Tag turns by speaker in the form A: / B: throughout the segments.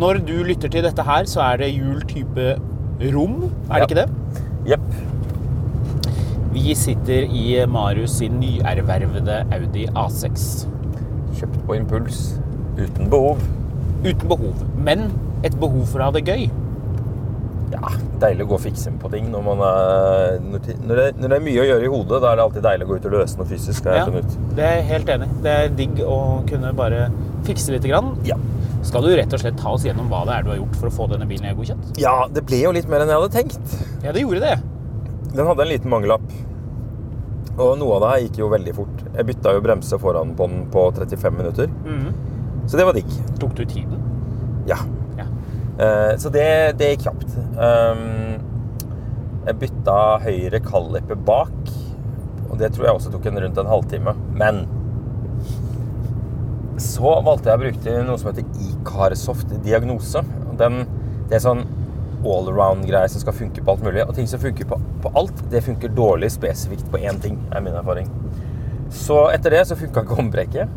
A: Når du lytter til dette her, så er det jul type rom, er det
B: Ja.
A: ikke det?
B: Jepp.
A: Vi sitter i Marius sin nyervervede Audi A6.
B: Kjøpt på impuls. Uten behov.
A: Uten behov, men et behov for å ha det gøy.
B: Ja, Deilig å gå og fikse på ting når, man er, når, ti- når, det, når det er mye å gjøre i hodet. Da er det alltid deilig å gå ut og løse noe fysisk. Har jeg funnet ut.
A: det er jeg helt enig. i. Det er digg å kunne bare fikse litt. Grann.
B: Ja.
A: Skal du rett og slett ta oss gjennom hva det er du har gjort for å få denne bilen godkjent?
B: ja, det ble jo litt mer enn jeg hadde tenkt.
A: Ja, det gjorde det.
B: Den hadde en liten mangelapp. Og noe av det her gikk jo veldig fort. Jeg bytta jo bremse foran på den på 35 minutter. Så det var digg.
A: Tok du tiden?
B: Ja.
A: Ja.
B: Eh, så det, det gikk kjapt. Ehm, jeg bytta høyre kaliper bak, og det tror jeg også tok en rundt en halvtime. Men så valgte jeg å bruke noe som heter Icarsoft diagnose. Og Den, det er sånn allround-greie som skal funke på alt mulig. Og ting som funker på, på alt, det funker dårlig spesifikt på én ting, er min erfaring. Så etter det så funka ikke håndbrekket.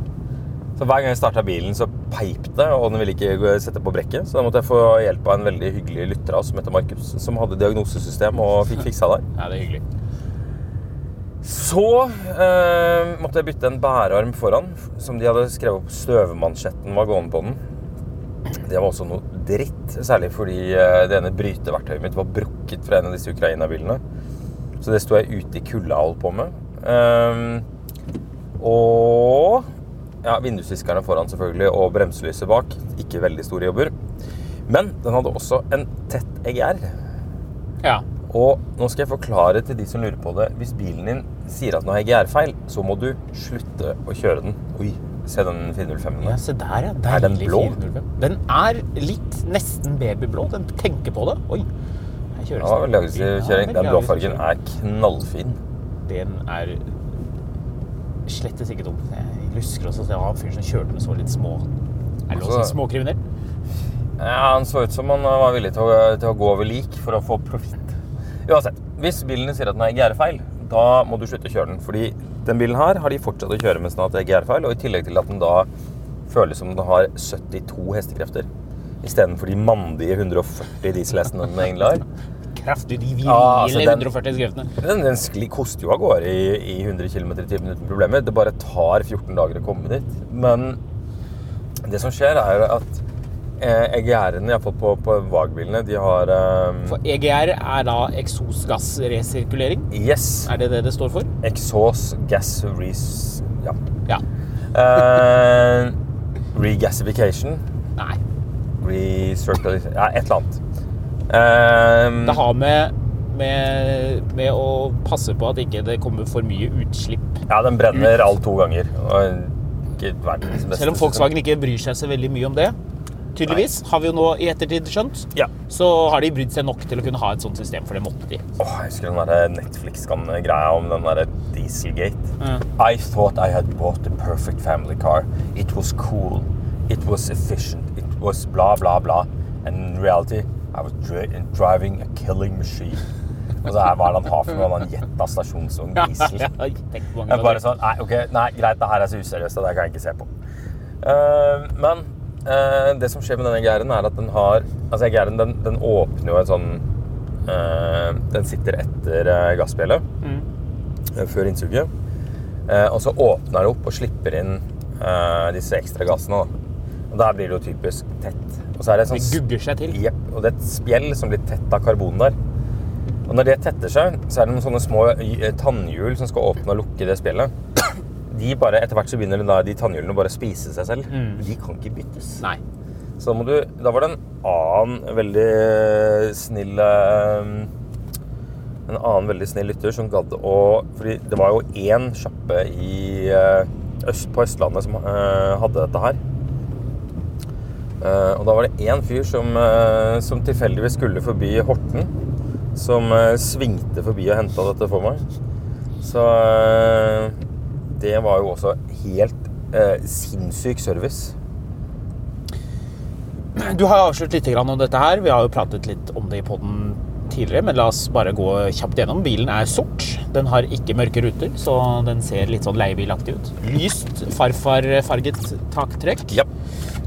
B: Så hver gang jeg starta bilen, så peip det, og den ville ikke gå- sette på brekket. Så da måtte jeg få hjelp av en veldig hyggelig lytter av oss som heter Markus, som hadde diagnosesystem og fikk fiksa det.
A: Ja, det er hyggelig.
B: Så eh, måtte jeg bytte en bærearm foran, som de hadde skrevet opp støvmansjetten var gående på den. Det var også noe dritt, særlig fordi eh, det ene bryteverktøyet mitt var brukket fra en av disse Ukraina-bilene. Så det sto jeg ute i kulda og holdt på med. Ehm, og ja, vindusviskerne foran selvfølgelig, og bremselyset bak. Ikke veldig store jobber. Men den hadde også en tett E EGR.
A: Ja.
B: Og nå skal jeg forklare til de som lurer på det. Hvis bilen din sier at den har EGR-feil, så må du slutte å kjøre den. Oi, se den 405-en
A: ja,
B: der.
A: se der, ja.
B: Er den
A: Deilig
B: blå?
A: 405. Den er litt nesten babyblå. Den tenker på det. Oi. Her kjøres
B: Det var veldig aggressiv
A: Ja,
B: kjøring. Den
A: veldig
B: blåfargen
A: aggressiv
B: er knallfin.
A: Den er slettes ikke dum. Jeg lusker også at det var en fyr som kjørte med så litt små Er det lov å si
B: Altså-
A: småkriminell?
B: Ja, han så ut som han eh, var villig til å, til å gå over lik for å få profitt. Uansett, hvis bilen din sier at den har EGR-feil, da må du slutte å kjøre den. Fordi den bilen her har de fortsatt å kjøre mens den har hatt EGR-feil, og i tillegg til at den da føles som den har 72 hestekrefter. Istedenfor de mandige 140 dieselhestene den egentlig har.
A: Kraftig, de virile
B: Ja, altså, den-
A: 140 skriftene.
B: Den, den skli- koster jo av gårde i, i 100 km i timen uten problemer. Det bare tar 14 dager å komme dit. Men det som skjer, er at eh, EGR-ene, iallfall på, på VAG-bilene, de har eh,
A: For EGR er da eksosgassresirkulering?
B: Yes!
A: Er det det det står for?
B: Exhaust gas res... Ja.
A: Ja.
B: Eh, regasification.
A: Nei.
B: Recirculation Ja, et eller annet. Eh,
A: Det har med, med, med å passe på at ikke det kommer for mye utslipp.
B: ja, den brenner all to ganger. Og ikke verdens beste.
A: Selv om Volkswagen ikke bryr seg så veldig mye om det, tydeligvis, har vi jo nå i ettertid skjønt,
B: Ja.
A: så har de brydd seg nok til å kunne ha et sånt system, for det måtte de.
B: Åh, jeg husker den der Netflix-greia om den der Dieselgate. I thought I had bought the perfect family car. It was cool. It was efficient. It was bla bla bla. And in reality, I was dri- driving a killing machine. Og så her, hva er det han har for noe? Han gjetta stasjonsvogn diesel.
A: Tenk hvor mange
B: Jeg
A: ganger.
B: bare sånn, nei, ok, nei, greit, det her er så useriøst, og det kan jeg ikke se på. Eh, men eh, det som skjer med denne gæren er at den har, altså gæren den, den åpner jo en sånn, eh, den sitter etter uh, gassbjellet,
A: Mm.
B: eh, før innsuget, Eh, og så åpner det opp og slipper inn eh, disse ekstra gassene da. Og der blir det jo typisk tett. Og så er det sånn...
A: Det gugger seg til.
B: Jep, og det er et spjell som blir tett av karbon der. Og når det tetter seg, så er det noen sånne små y- eh, tannhjul som skal åpne og lukke det spjellet. De bare, etter hvert så begynner de, da, de tannhjulene å bare spise seg selv. De kan ikke byttes.
A: Nei.
B: Så da, må du, da var det en annen veldig snill eh, En annen veldig snill lytter som gadd å Fordi det var jo én sjappe i, eh, øst, på Østlandet som eh, hadde dette her. Eh, og da var det én fyr som, eh, som tilfeldigvis skulle forbi Horten. Som eh, svingte forbi og henta dette for meg. Så eh, det var jo også helt eh, sinnssyk service.
A: Du har jo avslørt litt grann om dette her. Vi har jo pratet litt om det i podden tidligere, men la oss bare gå kjapt gjennom. Bilen er sort. Den har ikke mørke ruter, så den ser litt sånn leiebilaktig ut. Lyst farfarfarget taktrekk.
B: Ja.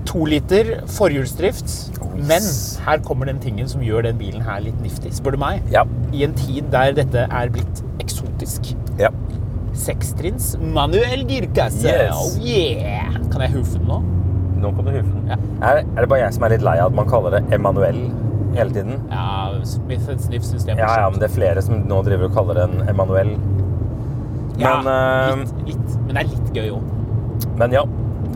A: To liter forhjulsdrift. Men
B: yes.
A: her kommer den tingen som gjør den bilen her litt nifty, spør du meg.
B: Ja.
A: I en tid der dette er blitt eksotisk.
B: ja.
A: Sekstrinns manuell girkasse.
B: Yes.
A: Oh yeah! Kan jeg hoofe den nå?
B: Nå kom det hufen.
A: Ja.
B: Er, er det bare jeg som er litt lei av at man kaller det Emanuel hele tiden?
A: Ja, Smith Sniff-systemet.
B: Ja, ja, men det er flere som nå driver og kaller den Emanuel.
A: Ja,
B: Men, eh,
A: litt, litt, men det er litt gøy òg.
B: Men ja,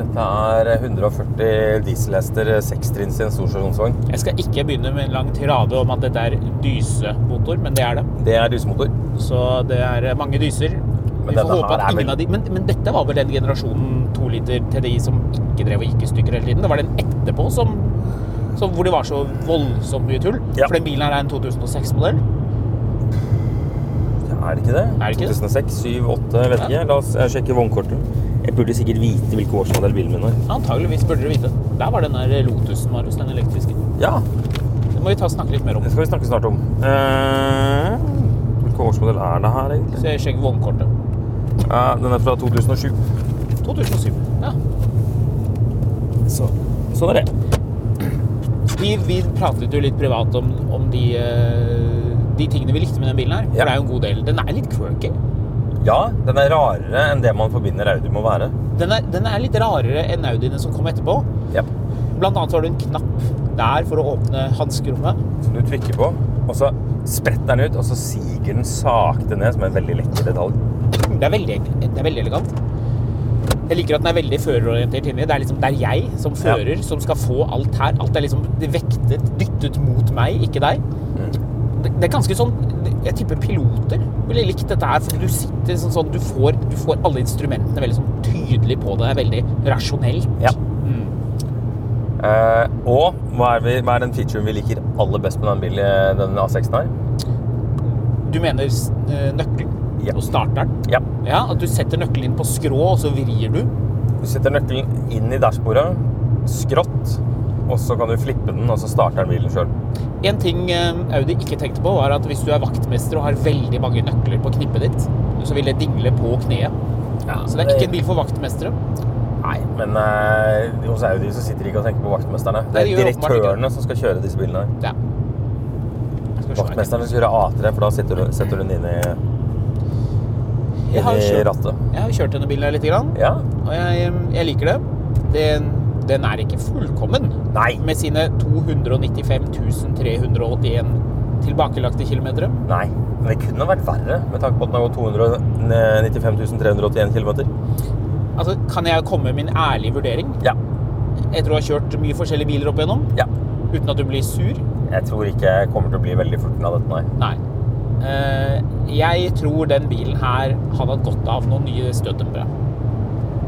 B: dette er 140 dieselhester, sekstrinns i en stor stasjonsvogn.
A: Jeg skal ikke begynne med en lang tirade om at dette er dysemotor, men det er det.
B: Det er dysemotor.
A: Så det er eh, mange dyser. Vi
B: denne
A: får håpe at
B: her er vel-
A: ingen av de men, men dette var vel den generasjonen 2 liter TDI som ikke drev og gikk i stykker hele tiden? Det var den etterpå som, som hvor det var så voldsomt mye tull?
B: Ja.
A: For den bilen her er en 2006-modell.
B: Ja, Er det ikke det?
A: Er det ikke det?
B: 2006, 7, 8, vet ikke. La oss eh, sjekke vognkortet. Jeg burde sikkert vite hvilken årsmodell bilen min er.
A: Antageligvis burde dere vite. Der var den der Lotusen, Marius, den elektriske.
B: Ja,
A: Det må vi ta og snakke litt mer om.
B: det skal vi snakke snart om. Eh, hvilken årsmodell er det her, egentlig?
A: Så jeg sjekker vognkortet.
B: Ja, den er fra 2007.
A: 2007. Ja.
B: Så, sånn er det.
A: Vi, vi pratet jo litt privat om, om de, eh, de tingene vi likte med den bilen her. For
B: Ja.
A: det er jo en god del. Den er litt quirky.
B: Ja, den er rarere enn det man forbinder Audi med å være.
A: Den er, den er litt rarere enn Audiene som kom etterpå.
B: Ja.
A: Blant annet var det en knapp der for å åpne hanskerommet.
B: Som du trykker på, og så spretter den ut, og så siger den sakte ned, som er en veldig lekker detalj.
A: Det er veldig, det er veldig elegant. Jeg liker at den er veldig førerorientert inni. Det er liksom det er jeg som fører som skal få alt her. Alt er liksom vektet, dyttet mot meg, ikke deg. Det, det er ganske sånn Jeg tipper piloter ville likt dette her, for du sitter sånn sånn Du får, du får alle instrumentene veldig sånn tydelig på deg. Det er veldig rasjonelt.
B: Ja. Eh, og hva er, vi, hva er den featuren vi liker aller best med den bilen, eh, den A6-en her?
A: Du mener s- eh, nøkkelen
B: Ja.
A: og starteren?
B: Ja.
A: Ja, At du setter nøkkelen inn på skrå, og så vrir du?
B: Du setter nøkkelen inn i dashbordet, skrått, og så kan du flippe den, og så starter den bilen sjøl.
A: En ting eh, Audi ikke tenkte på, var at hvis du er vaktmester og har veldig mange nøkler på knippet ditt, så vil det dingle på kneet. Så det er ikke en bil for vaktmestere.
B: Nei, men eh, hos Audi så sitter de ikke og tenker på vaktmesterne. Det
A: Nei,
B: er
A: de gjør åpenbart ikke det.
B: direktørene som skal kjøre disse bilene. her.
A: Ja. Skal vi se her.
B: Vaktmesterne skal kjøre A3, for da sitter du, setter du den inn i,
A: Jeg
B: inn
A: har
B: i
A: kjørt-
B: rattet.
A: Jeg har kjørt denne bilen her litt, grann,
B: Ja.
A: og jeg, jeg liker det. Den, den er ikke fullkommen
B: Nei.
A: med sine 295 381 tilbakelagte kilometer.
B: Nei, men det kunne vært verre med tanke på at den har gått 295 381 km.
A: Altså, kan jeg komme med min ærlige vurdering
B: Ja.
A: etter å ha kjørt mye forskjellige biler opp igjennom,
B: ja.
A: uten at du blir sur?
B: Jeg tror ikke jeg kommer til å bli veldig furten av dette, nei.
A: Nei. Eh, jeg tror den bilen her hadde hatt godt av noen nye støtdempere.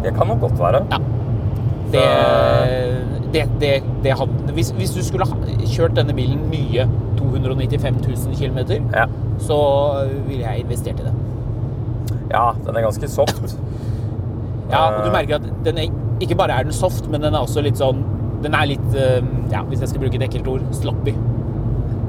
B: Det kan nok godt være.
A: Ja. Det, det, det, det hadde, hvis, hvis du skulle ha kjørt denne bilen nye 295 000 km,
B: Ja.
A: så ville jeg investert i det.
B: ja, den er ganske soft.
A: Ja, og du merker at den er, ikke bare er den soft, men den er også litt sånn Den er litt, eh, ja, hvis jeg skal bruke et ekkelt ord, sloppy.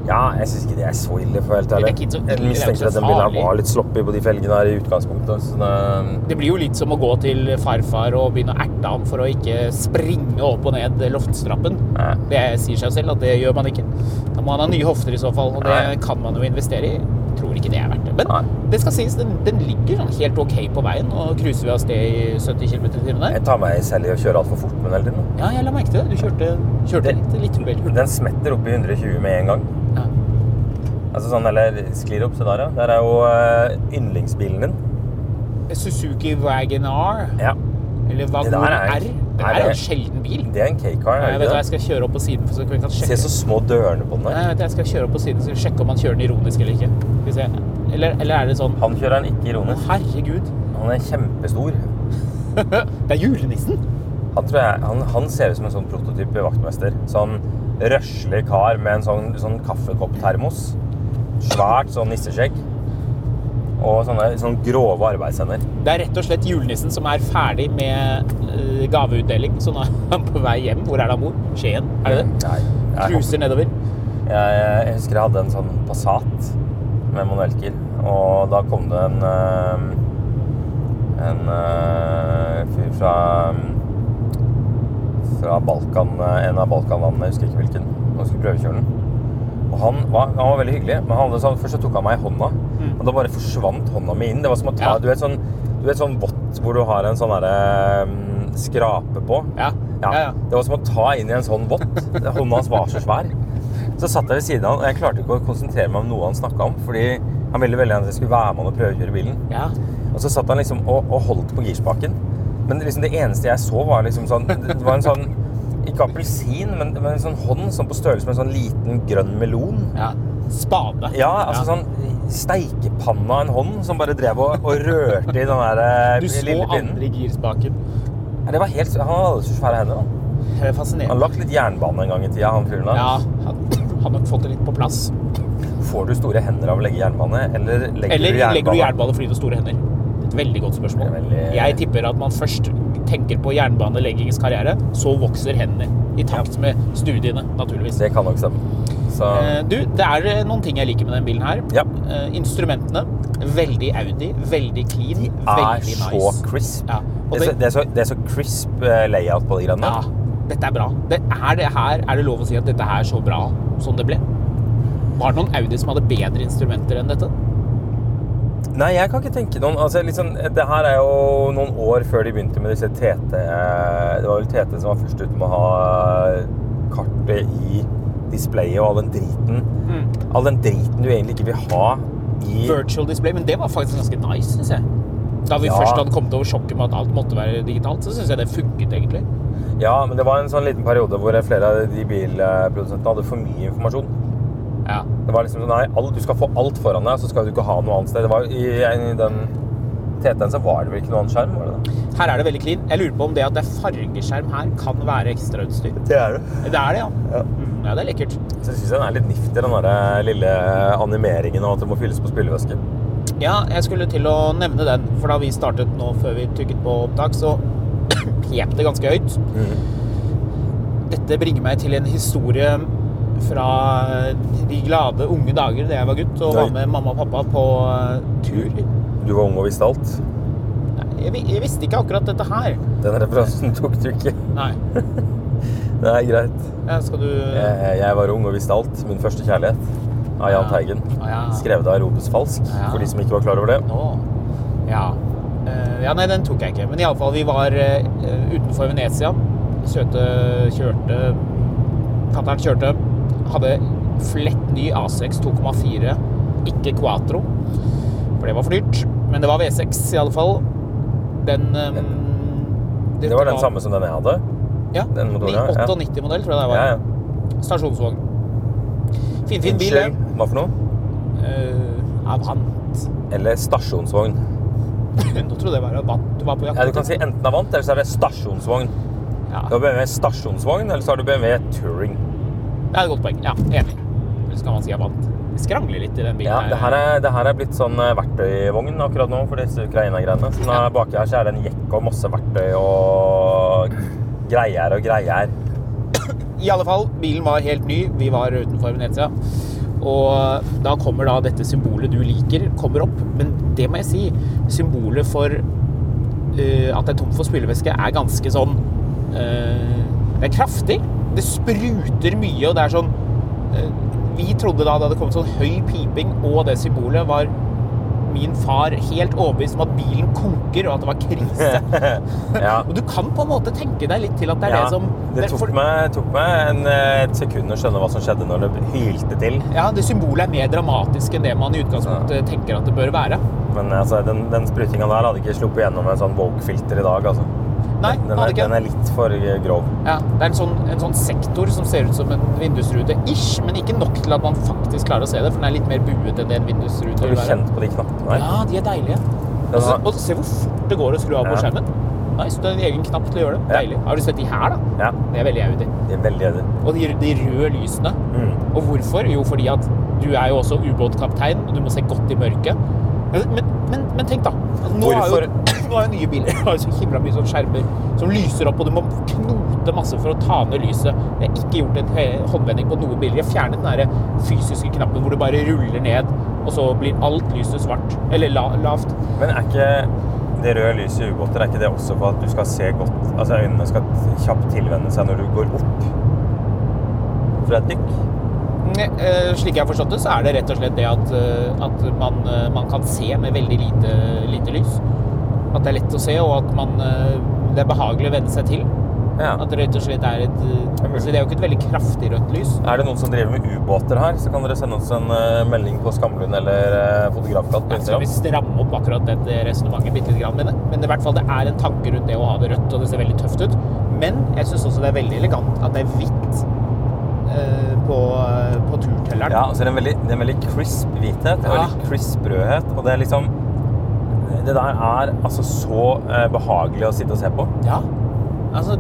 B: Ja, jeg syns ikke det er så ille, for å være helt
A: Det er
B: ærlig.
A: ikke så ille, det
B: Jeg
A: er ikke
B: mistenker at
A: så
B: den bilen her
A: farlig.
B: var litt sloppy på de felgene her i utgangspunktet. Så det,
A: Det blir jo litt som å gå til farfar og begynne å erte ham for å ikke springe opp og ned loftstrappen.
B: Nei.
A: Det sier seg selv at det gjør man ikke. Da må han ha nye hofter i så fall, og det
B: Nei.
A: kan man jo investere i. Jeg Tror ikke det er verdt det. Men
B: Nei.
A: det skal sies, den, den ligger sånn helt ok på veien, og cruiser vi av sted i 70 km i timen der.
B: jeg tar meg selv i å kjøre altfor fort med den hele tiden.
A: Ja, jeg la merke til det. Du kjørte, kjørte
B: Det-
A: litt, litt uvel.
B: Den smetter opp i 120 med en gang.
A: Ja.
B: Altså sånn, Eller sklir opp. Se der, ja. Der er jo eh, yndlingsbilen din.
A: Suzuki Wagon R.
B: Ja.
A: Eller hva
B: Det der
A: går
B: er-
A: R? Det
B: er
A: er jo
B: det-
A: en sjelden bil.
B: Det er en K-car.
A: Jeg
B: er
A: vet
B: det
A: hva,
B: ikke
A: jeg skal kjøre opp på siden, for så kan vi kan
B: det? Se
A: sjekke.
B: så små dørene på den
A: Nei,
B: der.
A: vet du, jeg skal kjøre opp på siden, så skal vi sjekke om han kjører den ironisk eller ikke. Skal vi se. Eller, eller er det sånn
B: Han kjører den ikke
A: Å,
B: ironisk.
A: herregud.
B: Han er kjempestor.
A: Det er julenissen!
B: Han, tror jeg, han, han ser ut som en sånn prototype vaktmester. Sånn røslig kar med en sånn, sånn kaffekopptermos. Svært sånn nisseskjegg. Og sånne, sånn grove arbeidshender.
A: Det er rett og slett julenissen som er ferdig med eh, gaveutdeling, så nå er han på vei hjem. Hvor er det han bor? Skien? Er det det?
B: Nei, jeg,
A: Cruiser nedover.
B: jeg, jeg husker jeg hadde en sånn Passat med manuellgir. Og da kom det en eh, en eh, fyr fra mm, fra Balkan, eh, en av Balkanlandene, jeg husker ikke hvilken. Han skulle prøvekjøre den. Og han var, han var veldig hyggelig, men han hadde sånn, først så tok han meg i hånda, og da bare forsvant hånda mi inn. Det var som å ta,
A: Mm. Ja.
B: du vet sånn, du vet sånn vått hvor du har en sånn derre mm, skrape på.
A: Ja. Ja, ja.
B: Det var som å ta inn i en sånn vått. Hånda hans var så svær. Så satt jeg ved siden av han, og jeg klarte ikke å konsentrere meg om noe han snakket om, fordi han ville veldig gjerne at jeg skulle være med han og prøvekjøre bilen.
A: Ja.
B: Og så satt han liksom og, og holdt på girspaken. Men liksom det eneste jeg så, var liksom sånn Det var en sånn Ikke appelsin, men, men en sånn hånd sånn på størrelse med en sånn liten grønn melon.
A: ja. Spade.
B: Ja, altså
A: Ja.
B: sånn steikepanna av en hånd som bare drev og, og rørte i den der eh,
A: Du så
B: lille pinnen.
A: andre i girspaken.
B: Ja, Det var helt, han hadde så svære hender. da.
A: Det er
B: Han
A: fascinerende.
B: har lagt litt jernbane en gang i tida, han fyren der.
A: Ja, han han har nok fått det litt på plass.
B: Får du store hender av å legge jernbane, eller legger
A: Eller legger
B: du
A: du
B: jernbane?
A: jernbane fordi du har store hender? Et veldig godt spørsmål.
B: Det er veldig-
A: Jeg tipper at man først tenker på jernbaneleggingens karriere, så vokser hendene. I takt med studiene, naturligvis.
B: Det kan nok stemme. Så
A: Eh, Du, det er eh, noen ting jeg liker med den bilen her.
B: Ja.
A: Eh, Instrumentene. Veldig Audi, veldig clean,
B: er
A: veldig
B: så
A: nice.
B: crisp.
A: Ja, og
B: Det er så,
A: det-
B: det er så, det er så crisp eh, layout på de greiene.
A: Ja, dette er bra. Det er, det her, er det lov å si at dette her er så bra som det ble? Var det noen Audi som hadde bedre instrumenter enn dette?
B: Nei, jeg kan ikke tenke noen altså, liksom, Det her er jo noen år før de begynte med disse TT eh, Det var vel TT som var først ute med å ha eh, kartet i displayet og all den driten.
A: Mm.
B: All den driten du egentlig ikke vil ha i
A: Virtual display, men det var faktisk ganske nice, synes jeg. Da vi
B: Ja.
A: først hadde kommet over sjokket med at alt måtte være digitalt, så synes jeg det funket egentlig.
B: Ja, men det var en sånn liten periode hvor flere av de bilprodusentene hadde for mye informasjon.
A: Ja.
B: Det var liksom sånn, Nei, all, du skal få alt foran deg, så skal du ikke ha noe annet sted. Det var I, i den TT-en så var det vel ikke noen annen skjerm? var det det?
A: Her er det veldig clean. Jeg lurer på om det at det er fargeskjerm her kan være ekstrautstyr.
B: Det er det.
A: Det er det, ja. Mm, Ja, det er lekkert.
B: Så jeg syns den er litt nifty, den der eh, lille animeringen av at det må fylles på spylevæske.
A: Ja, jeg skulle til å nevne den, for da vi startet nå før vi trykket på opptak, så pep det ganske høyt.
B: Mhm.
A: Dette bringer meg til en historie fra de glade unge dager da jeg var gutt og
B: Oi.
A: var med mamma og pappa på eh, tur.
B: Du var ung og visste alt.
A: Nei, Jeg, vi- jeg visste ikke akkurat dette her.
B: Den referansen tok du ikke.
A: Nei.
B: Det er greit.
A: Ja, skal du
B: Jeg, jeg var ung og visste alt. Min første kjærlighet av Jahn
A: Ja.
B: Teigen.
A: Å, ja. Ah,
B: Skrevet av Robes Falsk,
A: Ja.
B: for de som ikke var klar over det.
A: Å. Ja. Eh, ja, nei, den tok jeg ikke. Men iallfall, vi var eh, utenfor Venezia. Søte kjørte Fatter'n kjørte. Hadde flett ny A6 2,4, ikke Quatro. For det var for dyrt. Men det var V6, iallfall. Den eh,
B: Det var den samme som den jeg hadde.
A: ja,
B: den motoren, ja.
A: 98-modell, tror jeg det var.
B: Ja, ja.
A: Stasjonsvogn. Finfin bil,
B: Unnskyld,
A: det.
B: hva for noe?
A: Eh, Avant.
B: Eller stasjonsvogn.
A: Nå trodde jeg det var Avant du var på jakt
B: Ja, du kan si enten Avant, eller så er det stasjonsvogn.
A: Ja.
B: Du har BMW stasjonsvogn, eller så har du BMW touring.
A: Det er et godt poeng. Ja, enig. Eller så kan man si avant. Vi skrangler litt i den bilen.
B: Ja, det her er, det her er blitt sånn eh, verktøyvogn akkurat nå for disse Ukraina-greiene. Så nå er baki her så er det en jekk og masse verktøy og greier og greier.
A: I alle fall, bilen var helt ny. Vi var utenfor Venezia. Og da kommer da dette symbolet du liker, kommer opp. Men det må jeg si, symbolet for eh, at det er tomt for spylevæske er ganske sånn eh, Det er kraftig. Det spruter mye, og det er sånn eh, Vi trodde da det hadde kommet sånn høy piping, og det symbolet var min far helt overbevist om at bilen koker, og at det var krise.
B: Ja.
A: Og du kan på en måte tenke deg litt til at det er
B: Ja,
A: det som
B: det
A: det- for-
B: tok meg, tok meg en, eh, et sekund å skjønne hva som skjedde når det hylte til.
A: Ja, det symbolet er mer dramatisk enn det man i utgangspunktet tenker at det bør være.
B: eh, Men altså, den, den sprutinga der hadde ikke sluppet gjennom en sånn Vogue-filter i dag, altså.
A: Nei,
B: den,
A: hadde
B: er,
A: ikke
B: den er litt for eh, grov.
A: Ja, det er en sånn, en sånn sektor som ser ut som en vindusrute, ish, men ikke nok til at man faktisk klarer å se det, for den er litt mer buet enn det en vindusrute
B: Har
A: vil
B: du
A: være.
B: kjent på de knappene her? Altså,
A: Ja, de er deilige. Og se, og se hvor fort det går å skru av på
B: Ja.
A: skjermen. Nice, du har en egen knapp til å gjøre det.
B: Ja.
A: Deilig. Har du sett de her, da?
B: Ja,
A: Det er veldig audi.
B: de er veldig edde.
A: Og de, de røde lysene.
B: Mm.
A: Og hvorfor? Jo, fordi at du er jo også ubåtkaptein, og du må se godt i mørket. Men, men, men, men tenk, da. Altså, Nå har, jo, nå har jo nye biler har jo så himla mye sånn skjermer som lyser opp, og du må knote masse for å ta ned lyset. Jeg har ikke gjort en he- håndvending på noen biler. Jeg har fjernet den derre fysiske knappen hvor du bare ruller ned, og så blir alt lyset svart. Eller la, lavt.
B: Men er ikke det røde lyset i ubåter er ikke det også for at du skal se godt Altså øynene skal t- kjapt tilvenne seg når du går opp fra et dykk?
A: Ne- eh, Slik jeg har forstått det, så er det rett og slett det at, eh, at man, eh, man kan se med veldig lite, lite lys. At det er lett å se, og at man, eh, det er behagelig å venne seg til.
B: Ja.
A: At det rett og slett er et eh,
B: mulig.
A: altså, Det er jo ikke et veldig kraftig rødt lys.
B: Er det noen som driver med ubåter her, så kan dere sende oss en eh, melding på Skamlund eller uh, Fotografkatt på
A: Skal vi
B: Instagram.
A: stramme opp akkurat Altså, det resonnementet bitte litt, grann, men, men i hvert fall det er en tanke rundt det å ha det rødt, og det ser veldig tøft ut. Men jeg syns også det er veldig elegant at det er hvitt eh, på, på turtelleren.
B: Ja, og så er det en veldig, det er en veldig crisp hvithet, en
A: Ja.
B: veldig crisp rødhet, og det er liksom Det der er altså så eh, behagelig å sitte og se på.
A: Ja. Altså,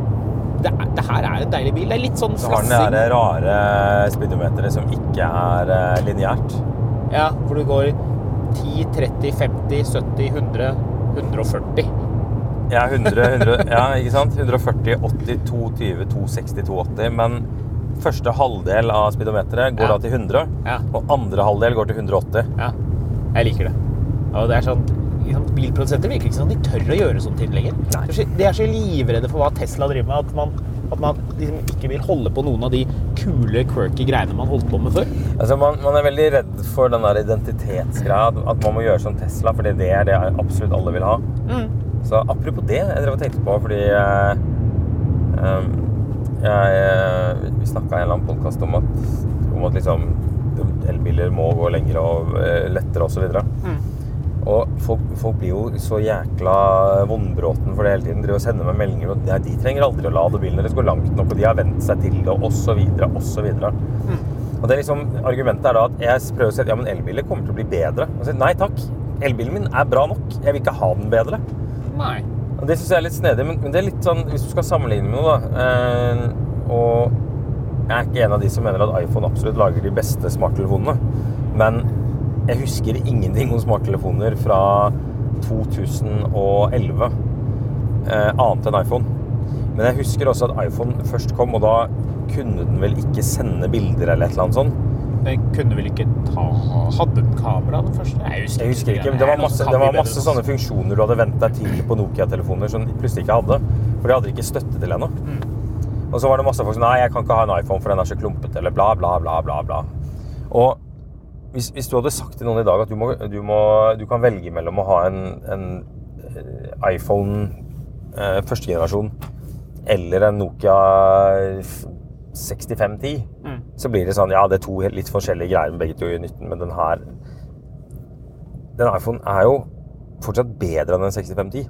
A: det, er- det her er en deilig bil. Det er litt sånn
B: Så har den
A: flassing.
B: det der rare speedometeret som ikke er uh, lineært.
A: Ja, hvor du går 10, 30, 50, 70, 100, 140.
B: Ja, 100, 100, ja, ikke sant? 140, 80, 220, 260, 280. Men første halvdel av speedometeret går
A: Ja.
B: da til 100,
A: Ja.
B: og andre halvdel går til 180.
A: Ja, jeg liker det. Og det er sånn, liksom, Bilprodusenter virker ikke som de tør å gjøre sånne ting lenger.
B: Nei.
A: Det er så- De er så livredde for hva Tesla driver med, at man, at man liksom ikke vil holde på noen av de kule, quirky greiene man holdt på med før.
B: Altså, man, man er veldig redd for den der identitetsgreia, at man må gjøre som Tesla, fordi det er det absolutt alle vil ha. Så apropos det, jeg drev og tenkte på, fordi eh, eh, jeg, eh, vi- vi snakket i en eller annen podcast om at, om at liksom, elbiler må gå lengre og eh, lettere og så videre. Og folk, folk blir jo så jækla vondbråten for det hele tiden. Driver og sender meg meldinger om at «Nei, de trenger aldri å lade bilen deres gå langt nok, og de har vent seg til det, og så videre, og så videre. Og det er liksom, argumentet er da at jeg prøver å si at ja, men elbiler kommer til å bli bedre. Og så, sier jeg, nei takk, elbilen min er bra nok. Jeg vil ikke ha den bedre.
A: Nei.
B: Og det syns jeg er litt snedig, men, men det er litt sånn hvis du skal sammenligne med noe, da eh, Og jeg er ikke en av de som mener at iPhone absolutt lager de beste smarttelefonene. Men jeg husker ingenting om smarttelefoner fra 2011 eh, annet enn iPhone. Men jeg husker også at iPhone først kom, og da kunne den vel ikke sende bilder eller et eller annet sånt.
A: Den kunne vel ikke ta Hadde den kamera, den første? Jeg husker,
B: Jeg husker ikke, men
A: Det er
B: det var
A: noen
B: masse,
A: som kan mye
B: det var
A: bedre
B: masse
A: enn oss.
B: sånne funksjoner du hadde vent deg til på Nokia-telefoner som de plutselig ikke hadde. For de hadde ikke støtte til ennå.
A: Mm.
B: Og så var det masse folk som Nei, jeg kan ikke ha en iPhone, for den er så klumpete, eller bla, bla, bla, bla. bla. Og hvis, hvis du hadde sagt til noen i dag at du, må, du, må, du kan velge mellom å ha en, en eh, iPhone eh, første generasjon eller en Nokia eh, 6510,
A: Mm.
B: så blir det sånn Ja, det er to helt- litt forskjellige greier, men begge to gjør nytten, men den her den iPhonen er jo fortsatt bedre enn en 6510.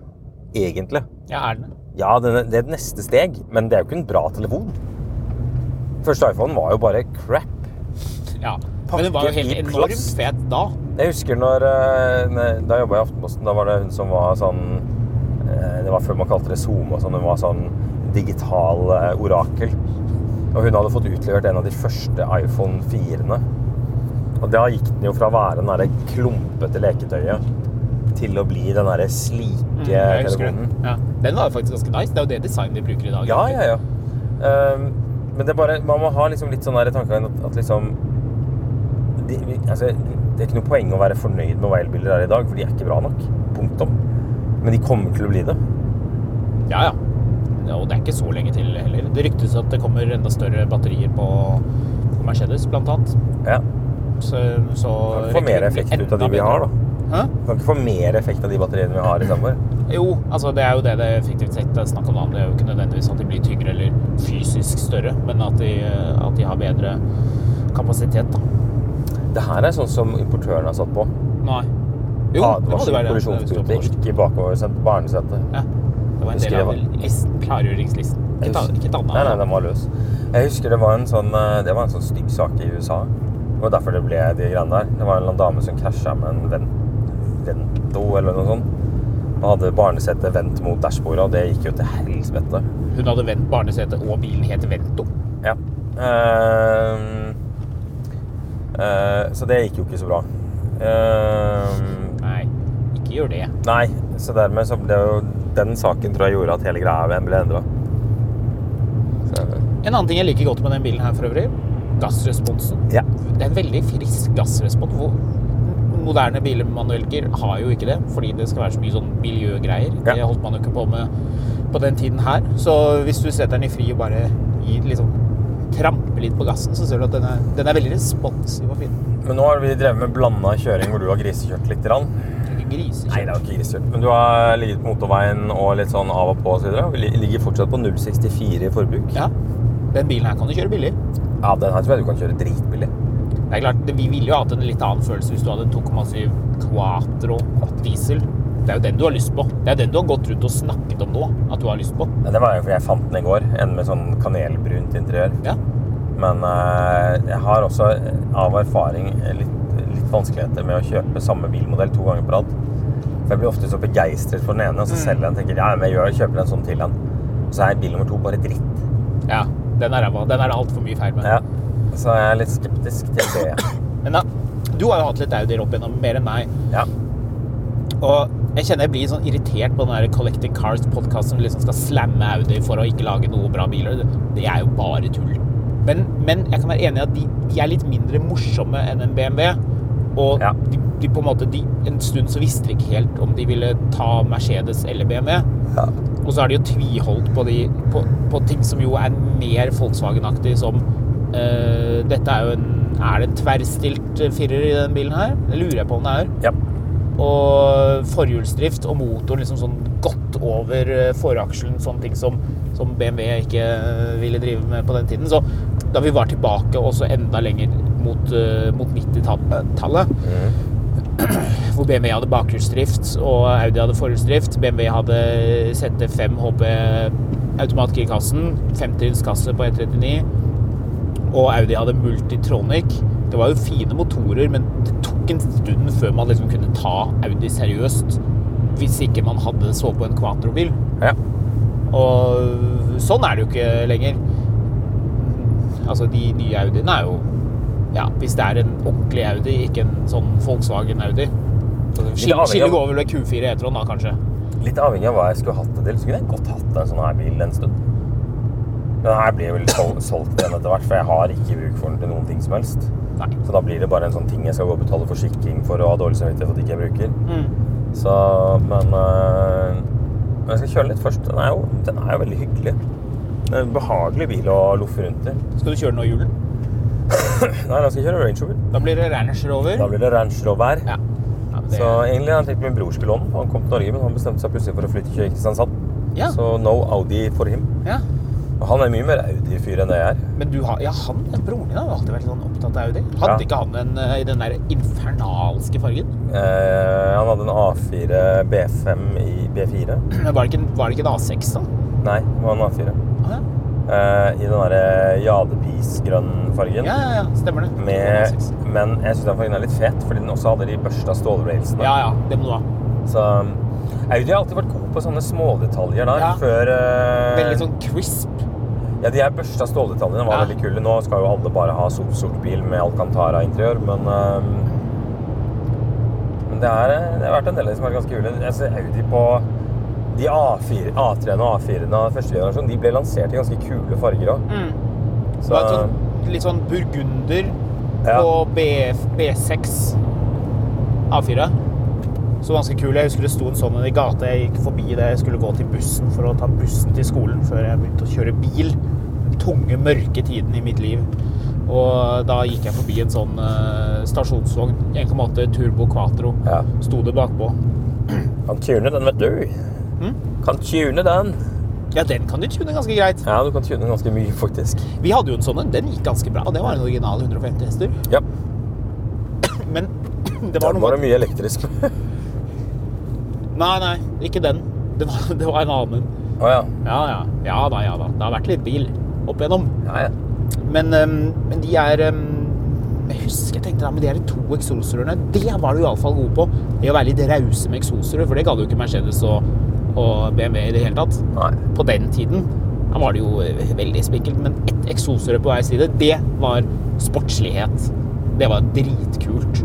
B: Egentlig.
A: sånn. Ja, er den det?
B: Ja, den er, det er et neste steg, men det er jo ikke en bra telefon. Første iPhonen var jo bare crap.
A: Ja. Men den var jo
B: Pakke
A: helt
B: i
A: enormt
B: plast.
A: fet da.
B: Jeg husker når eh, ne- Da jobba jeg i Aftenposten. Da var det hun som var sånn eh, Det var før man kalte det SoMe og sånn. Hun var sånn digital eh, orakel. Og hun hadde fått utlevert en av de første iPhone 4-ene. Og da gikk den jo fra å være den derre klumpete leketøyet til å bli den derre slike
A: Mm, Jeg husker
B: telefonen.
A: den. Ja. Den var jo faktisk ganske nice. Det er jo det designet vi bruker i dag.
B: Ja, ja, ja. Ehm, men det er bare, man må ha liksom litt sånn der i tankene at, at liksom de, vi, altså, Det er ikke noe poeng å være fornøyd med hva elbiler er i dag, for de er ikke bra nok. Punktum. Men de kommer til å bli det.
A: Ja, ja. Ja, Og det er ikke så lenge til heller. Det ryktes at det kommer enda større batterier på, på Mercedes, blant annet.
B: Ja.
A: Så, så
B: Kan ikke få mer effekt ut av de vi har, da.
A: Hæ?
B: Kan ikke få mer effekt av de batteriene vi har i sammen.
A: Jo, altså det er jo det det effektivt sett er snakk om. da. Det er jo ikke nødvendigvis at de blir tyngre eller fysisk større, men at de, at de har bedre kapasitet, da.
B: Det her er sånn som importøren har satt på.
A: Nei. Jo, det må det
B: Advarsel,
A: være. det. Det står på
B: kollisjonsputer,
A: norsk.
B: ikke bakover barnesetet.
A: Ja. Det var en del
B: Husker
A: av
B: det var-
A: es- klargjøringslisten. Ikke
B: Jeg
A: et annet-
B: husker-
A: ikke et annet.
B: Nei, nei, den var løs. Jeg husker det var en sånn, eh, det var en sånn stygg sak i USA. Det var derfor det ble de greiene der. Det var en eller annen dame som krasja med en ven, Vento eller noe sånt. Og hadde barnesetet vendt mot dashbordet, og det gikk jo til helvete.
A: Hun hadde vendt barnesetet, og bilen het Vento.
B: Ja. Ehm, eh, så det gikk jo ikke så bra. Ehm,
A: Nei, ikke gjør det.
B: nei, så dermed så ble jo Den saken tror jeg gjorde at hele greia ble endra.
A: En annen ting jeg liker godt med den bilen her for øvrig, gassresponsen.
B: Ja.
A: Det er en veldig frisk gassrespons. Hvor moderne biler med manuellgir har jo ikke det, fordi det skal være så mye sånn miljøgreier.
B: Ja.
A: Det holdt man jo ikke på med på den tiden her. Så hvis du setter den i fri og bare gir liksom tramper litt på gassen, så ser du at den er, den er veldig responsiv og fin.
B: Men nå har vi drevet med blanda kjøring hvor du har grisekjørt litt. Grann.
A: Ikke
B: Nei,
A: grisekjøtt.
B: det er jo ikke grisekjørt. Men du har ligget på motorveien og litt sånn av og på osv. Vi li- ligger fortsatt på 0,64 i forbruk.
A: Ja. Den bilen her kan du kjøre billig.
B: Ja, den her tror jeg du kan kjøre dritbillig.
A: Det er klart, det- Vi ville jo hatt en litt annen følelse hvis du hadde en 2,7 Quatro diesel. Det er jo den du har lyst på. Det er den du har gått rundt og snakket om nå. at du har lyst på.
B: Ja, det var jo fordi jeg fant den i går. En med sånn kanelbrunt interiør.
A: Ja.
B: Men eh, jeg har også av erfaring litt, litt vanskeligheter med å kjøpe samme bilmodell to ganger på rad. For jeg blir ofte så begeistret for den ene, og så selger jeg den og tenker ja, men jeg gjør, kjøper en sånn til den. Og så er bil nummer to bare dritt.
A: ja. Den er ræva. Den er det altfor mye feil med.
B: Ja. Så jeg er litt skeptisk til det.
A: Men da, du har jo hatt litt Audier opp igjennom, mer enn meg.
B: Ja.
A: Og jeg kjenner jeg blir sånn irritert på den der Collecting Cars-podkasten som liksom skal slamme Audi for å ikke lage noe bra biler. Det, det er jo bare tull. Men, men jeg kan være enig i at de, de er litt mindre morsomme enn en BMW. Og
B: Ja.
A: de, de på en måte de, En stund så visste de ikke helt om de ville ta Mercedes eller BMW.
B: Ja.
A: Og så har de jo tviholdt på, de, på, på ting som jo er mer Volkswagen-aktig, som eh, Dette er jo en Er det en tverrstilt eh, firer i den bilen her? Det lurer jeg på om det er
B: ja.
A: og forhjulsdrift og motor liksom sånn godt over eh, forakselen, sånne ting som, som BMW ikke eh, ville drive med på den tiden. Så da vi var tilbake også enda lenger mot, eh, mot 90-tallet, hvor BMW hadde bakhjulsdrift og Audi hadde forhjulsdrift, BMW hadde ZT5 HP automatgirkassen, femtrinnskasse på E 139, og Audi hadde Multitronic. Det var jo fine motorer, men det tok en stund før man liksom kunne ta Audi seriøst. Hvis ikke man hadde så på en Quatro-bil.
B: Ja.
A: Og sånn er det jo ikke lenger. Altså, de nye Audiene er jo Ja, hvis det er en ordentlig Audi, ikke en sånn Volkswagen-Audi.
B: Litt avhengig
A: Skillet
B: av-
A: går over ved Q4 E-tron, da, kanskje.
B: Litt avhengig av hva jeg skulle hatt det til, så kunne jeg godt hatt en sånn her bil en stund. Den her blir vel sol solgt igjen etter hvert, for jeg har ikke bruk for den til noen ting som helst.
A: Nei.
B: Så da blir det bare en sånn ting jeg skal gå og betale forsikring for og ha dårlig samvittighet for at ikke jeg bruker.
A: Mm.
B: Så, men øh, Men jeg skal kjøre litt først. Den er jo, den er jo veldig hyggelig. Det er en behagelig bil å loffe rundt i. Nei,
A: Skal du kjøre nå i julen?
B: da skal jeg kjøre Range Rover.
A: Da blir det Range Rover.
B: Da blir det Range Rover.
A: Ja. ja men det...
B: Så egentlig har jeg tenkt min bror skulle låne den. Han kom til Norge, men han bestemte seg plutselig for å flytte til Kristiansand.
A: Ja.
B: Så no Audi for him.
A: ja.
B: Og han er mye mer Audi-fyr enn det jeg er.
A: Men du har, ja, han, broren din har jo alltid vært sånn opptatt av Audi. Hadde
B: Ja.
A: ikke han en eh, i den der infernalske fargen?
B: Eh, han hadde en A4 B5 i B4.
A: Men Var det ikke, en- var det ikke en A6, da?
B: Nei, det var en A4.
A: Ah, ja.
B: Eh, I den derre jadepisgrønn fargen.
A: ja, ja, ja, stemmer det.
B: Med,
A: A6.
B: men jeg syns den fargen er litt fet, fordi den også hadde de børsta stålbrailsene.
A: Ja, ja, det må du ha.
B: Så um, Audi har alltid vært god på sånne smådetaljer der.
A: Ja.
B: Før eh,
A: Veldig sånn crisp.
B: Ja, de her børsta ståldetaljene var
A: Ja.
B: veldig kule. Nå skal jo alle bare ha sort, sort bil med Alcantara-interiør, men øhm, Men det, er, det har vært en del av de som er ganske kule. Jeg ser Audi på de A4, A3-ene og A4-ene av første generasjon. De ble lansert i ganske kule farger òg.
A: Det
B: Så
A: var et sånn, litt sånn burgunder
B: Ja.
A: på BF, B6 A4. Så ganske kul. Jeg husker det sto en sånn en i gata. Jeg gikk forbi det. Jeg skulle gå til bussen for å ta bussen til skolen før jeg begynte å kjøre bil. Den tunge, mørke tiden i mitt liv. Og da gikk jeg forbi en sånn eh, stasjonsvogn. 1,8 Turbo Quatro.
B: Ja.
A: Sto det bakpå.
B: Kan tune den, vet du.
A: Mm?
B: Kan tune den.
A: Ja, den kan du tune ganske greit.
B: Ja, du kan tune den ganske mye, faktisk.
A: Vi hadde jo en sånn en. Den gikk ganske bra. Og det var en original 150 hester.
B: Ja.
A: Men det
B: Da
A: var noe
B: var
A: med
B: det mye elektrisk.
A: Nei, nei, ikke den. Det var, det var en annen.
B: Å ja.
A: Ja, ja. Ja da, ja da. Det har vært litt bil opp igjennom.
B: Ja, ja.
A: Men, øhm, men de er øhm, Jeg husker jeg tenkte da, men de er to eksosrørene. Det var du iallfall god på. Det å være litt rause med eksosrør, for det gadd jo ikke Mercedes og, og BMW i det hele tatt.
B: Nei.
A: På den tiden da var det jo øh, veldig spinkelt, men ett eksosrør på hver side, det var sportslighet. Det var dritkult.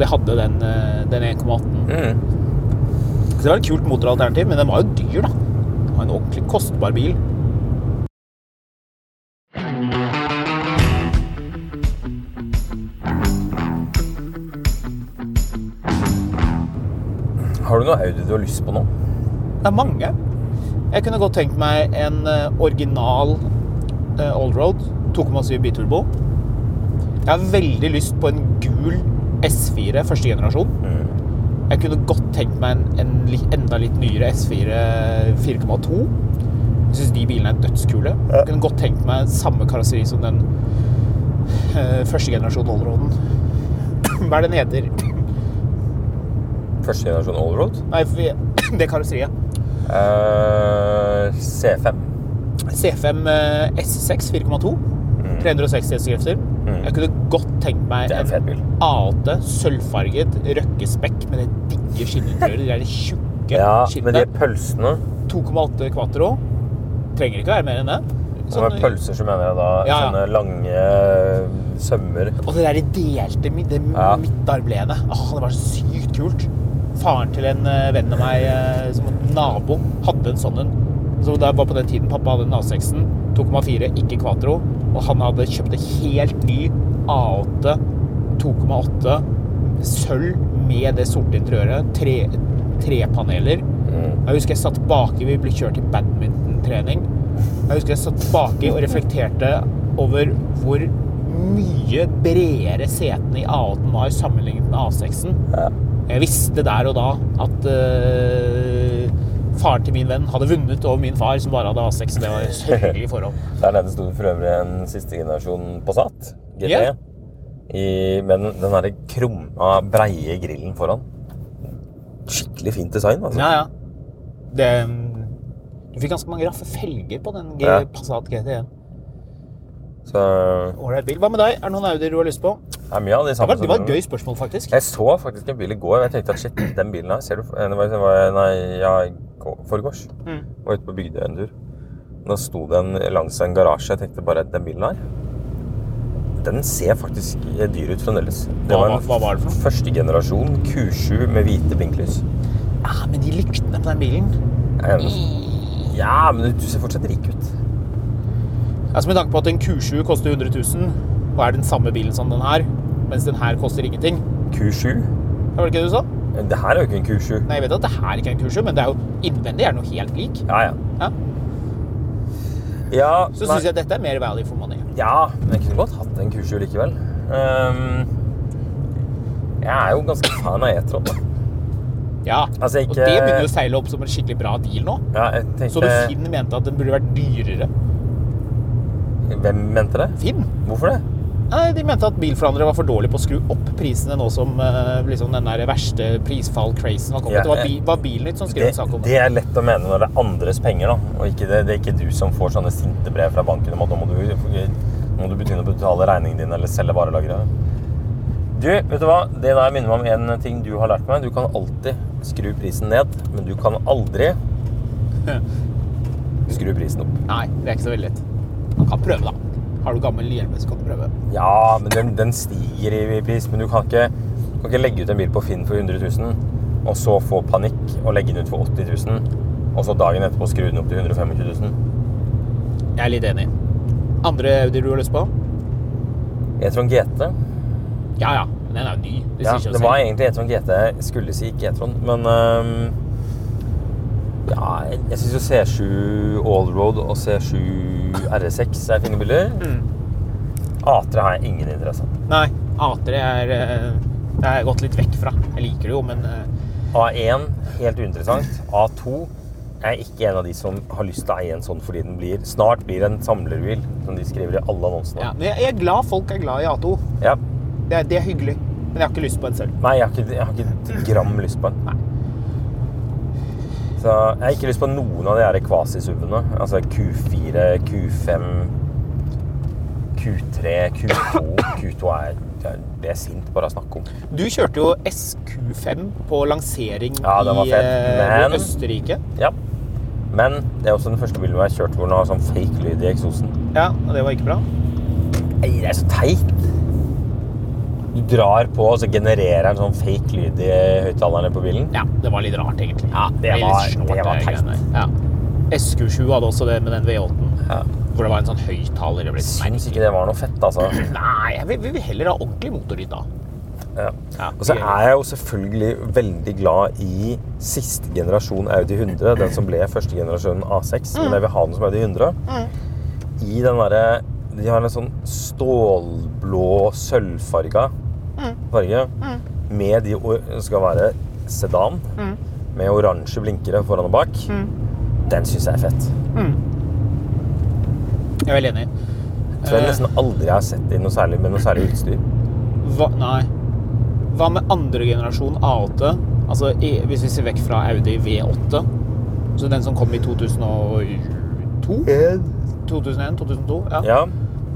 A: Det hadde den, øh, den 1,18.
B: Mm.
A: Så det var et kult motoralternativ, men den var jo dyr, da. Det var en ordentlig kostbar bil.
B: Har du noe Audi du har lyst på nå?
A: Det er mange. Jeg kunne godt tenkt meg en eh, original eh, allroad 2,7 biturbo. Jeg har veldig lyst på en gul S4 første generasjon. Jeg kunne godt tenkt meg en, en li, enda litt nyere S4 4,2. Jeg syns de bilene er dødskule. Jeg kunne godt tenkt meg samme karosseri som den eh, første generasjon allroaden. Hva er det den heter?
B: Første generasjon allroad?
A: Nei, vi- det karosseriet.
B: Eh, C5.
A: C5 eh, S6 4,2. 360 hestekrefter. Jeg kunne godt tenkt meg
B: Mm. Det er en fet bil.
A: A8 sølvfarget røkkespekk med det digge skinninteriøret. De der tjukke
B: Ja, men de
A: skinnene.
B: pølsene
A: 2,8 Quatro. Trenger ikke være mer enn det.
B: Og med pølser så mener jeg da
A: Sånn Ja, ja.
B: sånne lange sømmer.
A: og det der de delte mid- det
B: Ja.
A: midtarmlenet. Åh, det var så sykt kult. Faren til en eh, venn av meg eh, som en nabo hadde en sånn en. Så det var på den tiden pappa hadde en A6-en. 2,4, ikke Quatro. Og han hadde kjøpt en helt ny A8 2,8 sølv med det sorte interiøret. Tre, tre paneler. Jeg husker jeg satt baki, vi ble kjørt i badmintontrening. Jeg husker jeg satt baki og reflekterte over hvor mye bredere setene i A8 var sammenlignet med A6-en. Jeg visste der og da at eh, faren til min venn hadde vunnet over min far, som bare hadde A6. Det var sørgelig forhold.
B: Der nede sto det for øvrig en siste generasjon Passat GT.
A: Ja.
B: I, med den, den derre krumma, breie grillen foran. Skikkelig fint design, altså.
A: Ja, ja. Det, du fikk ganske mange raffe felger på den G
B: Ja.
A: Passat GT1.
B: Så eh,
A: Ålreit bil. Hva med deg? Er det noen Audier du har lyst på? Det
B: det er mye av de samme
A: var, det var
B: som-
A: et gøy spørsmål, faktisk.
B: Jeg så faktisk en bil i går, og jeg tenkte at shit, den bilen her, ser du eh, det var, det var, Nei, ja, i går- forgårs.
A: Mm.
B: Var ute på Bygdøy en tur. Da sto den langs en garasje. Jeg tenkte bare den bilen her Den ser faktisk eh, dyr ut fremdeles. Det
A: Hva
B: var en
A: var- hva var det for noe?
B: første generasjon Q7 med hvite blinklys.
A: Ja, Ah, men de lyktene på den bilen
B: Eh, Ja, men du ser fortsatt rik ut.
A: Altså Med tanke på at en Q7 koster 100 000, og er den samme bilen som den her, mens den her koster ingenting.
B: Q7?
A: Det var det ikke det du sa?
B: Det her er jo ikke en Q7.
A: Nei, jeg vet at det her ikke er en Q7, men det er jo innvendig er det noe helt lik.
B: Ja, ja.
A: Ja.
B: Ja,
A: Så
B: nei.
A: syns jeg dette er mer value for money.
B: Ja, men jeg kunne godt hatt en Q7 likevel. Ehm, jeg er jo ganske fan av E-tron. da.
A: Ja,
B: Altså,
A: Og
B: ikke-
A: det begynner jo å seile opp som en skikkelig bra deal nå.
B: Ja, jeg tenkte,
A: Så du Finn mente at den burde vært dyrere.
B: Hvem mente det?
A: Finn?
B: Hvorfor det?
A: Nei, De mente at bilforhandlere var for dårlige på å skru opp prisene nå som eh, liksom den der verste prisfall-crazen var kommet.
B: Ja,
A: Det var,
B: eh,
A: bi var Bilnytt som skrev en sak
B: Det,
A: om
B: det
A: det.
B: er lett å mene når det er andres penger, da. Og ikke det, det er ikke du som får sånne sinte brev fra banken om at nå må du, nå må du begynne å betale regningen din eller selge varelageret. Du, vet du hva? Det der minner meg om en ting du har lært meg. Du kan alltid skru prisen ned, men du kan aldri skru prisen opp.
A: Nei, det er ikke så veldig lett. Man kan prøve, da. Har du gammel hjelm, så kan du prøve.
B: Ja, men den, den stiger i pris. Men du kan ikke, du kan ikke legge ut en bil på Finn for 100 000, og så få panikk og legge den ut for 80 000, og så dagen etterpå skru den opp til 125 000.
A: Jeg er litt enig. Andre Audi du har lyst på?
B: E-tron GT.
A: Ja, ja. Men den er jo ny. Det
B: Ja,
A: sier seg
B: det
A: selv.
B: var egentlig E-tron GT jeg skulle si, ikke E-tron, men øhm, ja, jeg- jeg syns jo C7 Allroad og C7 R6 er fine biler. A3 har jeg ingen interesse av.
A: Nei, A3 er eh, Det har jeg gått litt vekk fra. Jeg liker det jo, men eh,
B: A1 helt uinteressant. A2 jeg er ikke en av de som har lyst til å eie en sånn fordi den blir, snart blir en samlerbil, som de skriver i alle annonsene.
A: ja. Men jeg jeg er glad folk er glad i A2.
B: Ja.
A: Det er, det er hyggelig. Men jeg har ikke lyst på en selv.
B: Nei, jeg har, ikke, jeg har ikke et gram lyst på den. Så jeg har ikke lyst på noen av de her kvasisuvene. Altså Q4, Q5, Q3, Q2. Q2 er, det er sint bare å snakke om.
A: Du kjørte jo SQ5 på lansering
B: Ja, den var
A: i
B: fet,
A: eh,
B: men-
A: Østerrike.
B: Ja. Men det er også den første bilen hvor jeg har kjørt hvor den har sånn fake lyd i eksosen.
A: Ja, og det var ikke bra.
B: Nei, det er så teit. Du drar på, og så genererer den sånn fake lyd i høyttalerne på bilen.
A: Ja, det var litt rart, egentlig.
B: Ja, det
A: litt
B: var-
A: snålt,
B: det var
A: de
B: teit.
A: greiene der. Ja. SQ7 hadde også det med den V8-en,
B: Ja.
A: hvor det var en sånn høyttaler. Det ble
B: Syns ikke det var noe fett, altså.
A: Nei, jeg vil, vi vil heller ha ordentlig motorlyd da.
B: Ja.
A: Ja,
B: Og så er jeg jo selvfølgelig veldig glad i siste generasjon Audi 100, den som ble første generasjon A6,
A: Mm.
B: men jeg vil ha den som Audi 100. I den derre De har en sånn stålblå, sølvfarga
A: Mm.
B: farge med de or- det skal være sedan
A: Mm.
B: med oransje blinkere foran og bak. Den syns jeg er fett.
A: Jeg er veldig enig.
B: Jeg tror jeg
A: Eh.
B: nesten aldri jeg har sett i noe særlig med noe særlig utstyr.
A: Hva, nei. Hva med andre generasjon A8? Altså, i, hvis vi ser vekk fra Audi V8, så den som kom i 2002? 2001, 2002, ja.
B: Ja,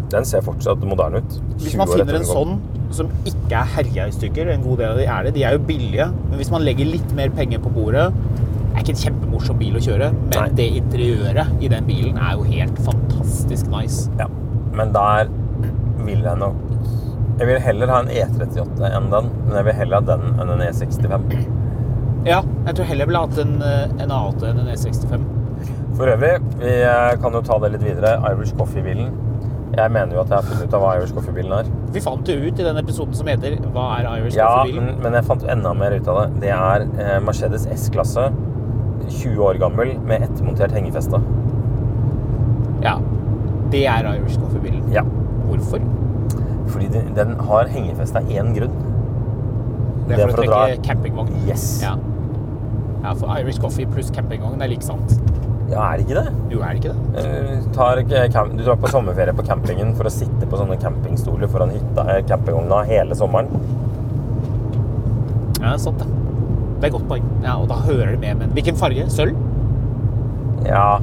B: den ser fortsatt moderne ut.
A: Hvis
B: 20
A: man
B: år etter
A: finner en
B: den kom.
A: sånn som ikke er herja i stykker, en god del av de er det, de er jo billige, men hvis man legger litt mer penger på bordet det er ikke en kjempemorsom bil å kjøre, men
B: Nei.
A: det interiøret i den bilen er jo helt fantastisk nice.
B: Ja, men der vil jeg nok Jeg vil heller ha en E38 enn den, men jeg vil heller ha den enn en E65.
A: Ja, jeg tror heller jeg ville hatt en, eh, en A8 enn en E65.
B: For øvrig, vi eh, kan jo ta det litt videre. Irish Coffee-bilen. Jeg mener jo at jeg har funnet ut av hva Irish Coffee-bilen er.
A: Vi fant jo ut i den episoden som heter Hva er Irish
B: Ja,
A: Coffee-bilen?
B: men, men jeg fant enda mer ut av det. Det er eh, Mercedes S-klasse, 20 år gammel, med ettermontert hengefeste.
A: Ja. Det er Irish Coffee-bilen.
B: Ja,
A: Hvorfor?
B: fordi den, den har hengefeste av én grunn.
A: Det er for, å trekke campingvogn.
B: Yes.
A: Ja. ja, for Irish Coffee pluss campingvogn er like sant.
B: Ja, er det ikke det?
A: Jo, er det ikke det?
B: Eh, tar, ikke cam- du drar på sommerferie på campingen for å sitte på sånne campingstoler foran hytta eh, campingvogna hele sommeren.
A: Ja, det er sant, det. Det er et godt poeng. Ja, og da hører det med, men hvilken farge? Sølv?
B: Ja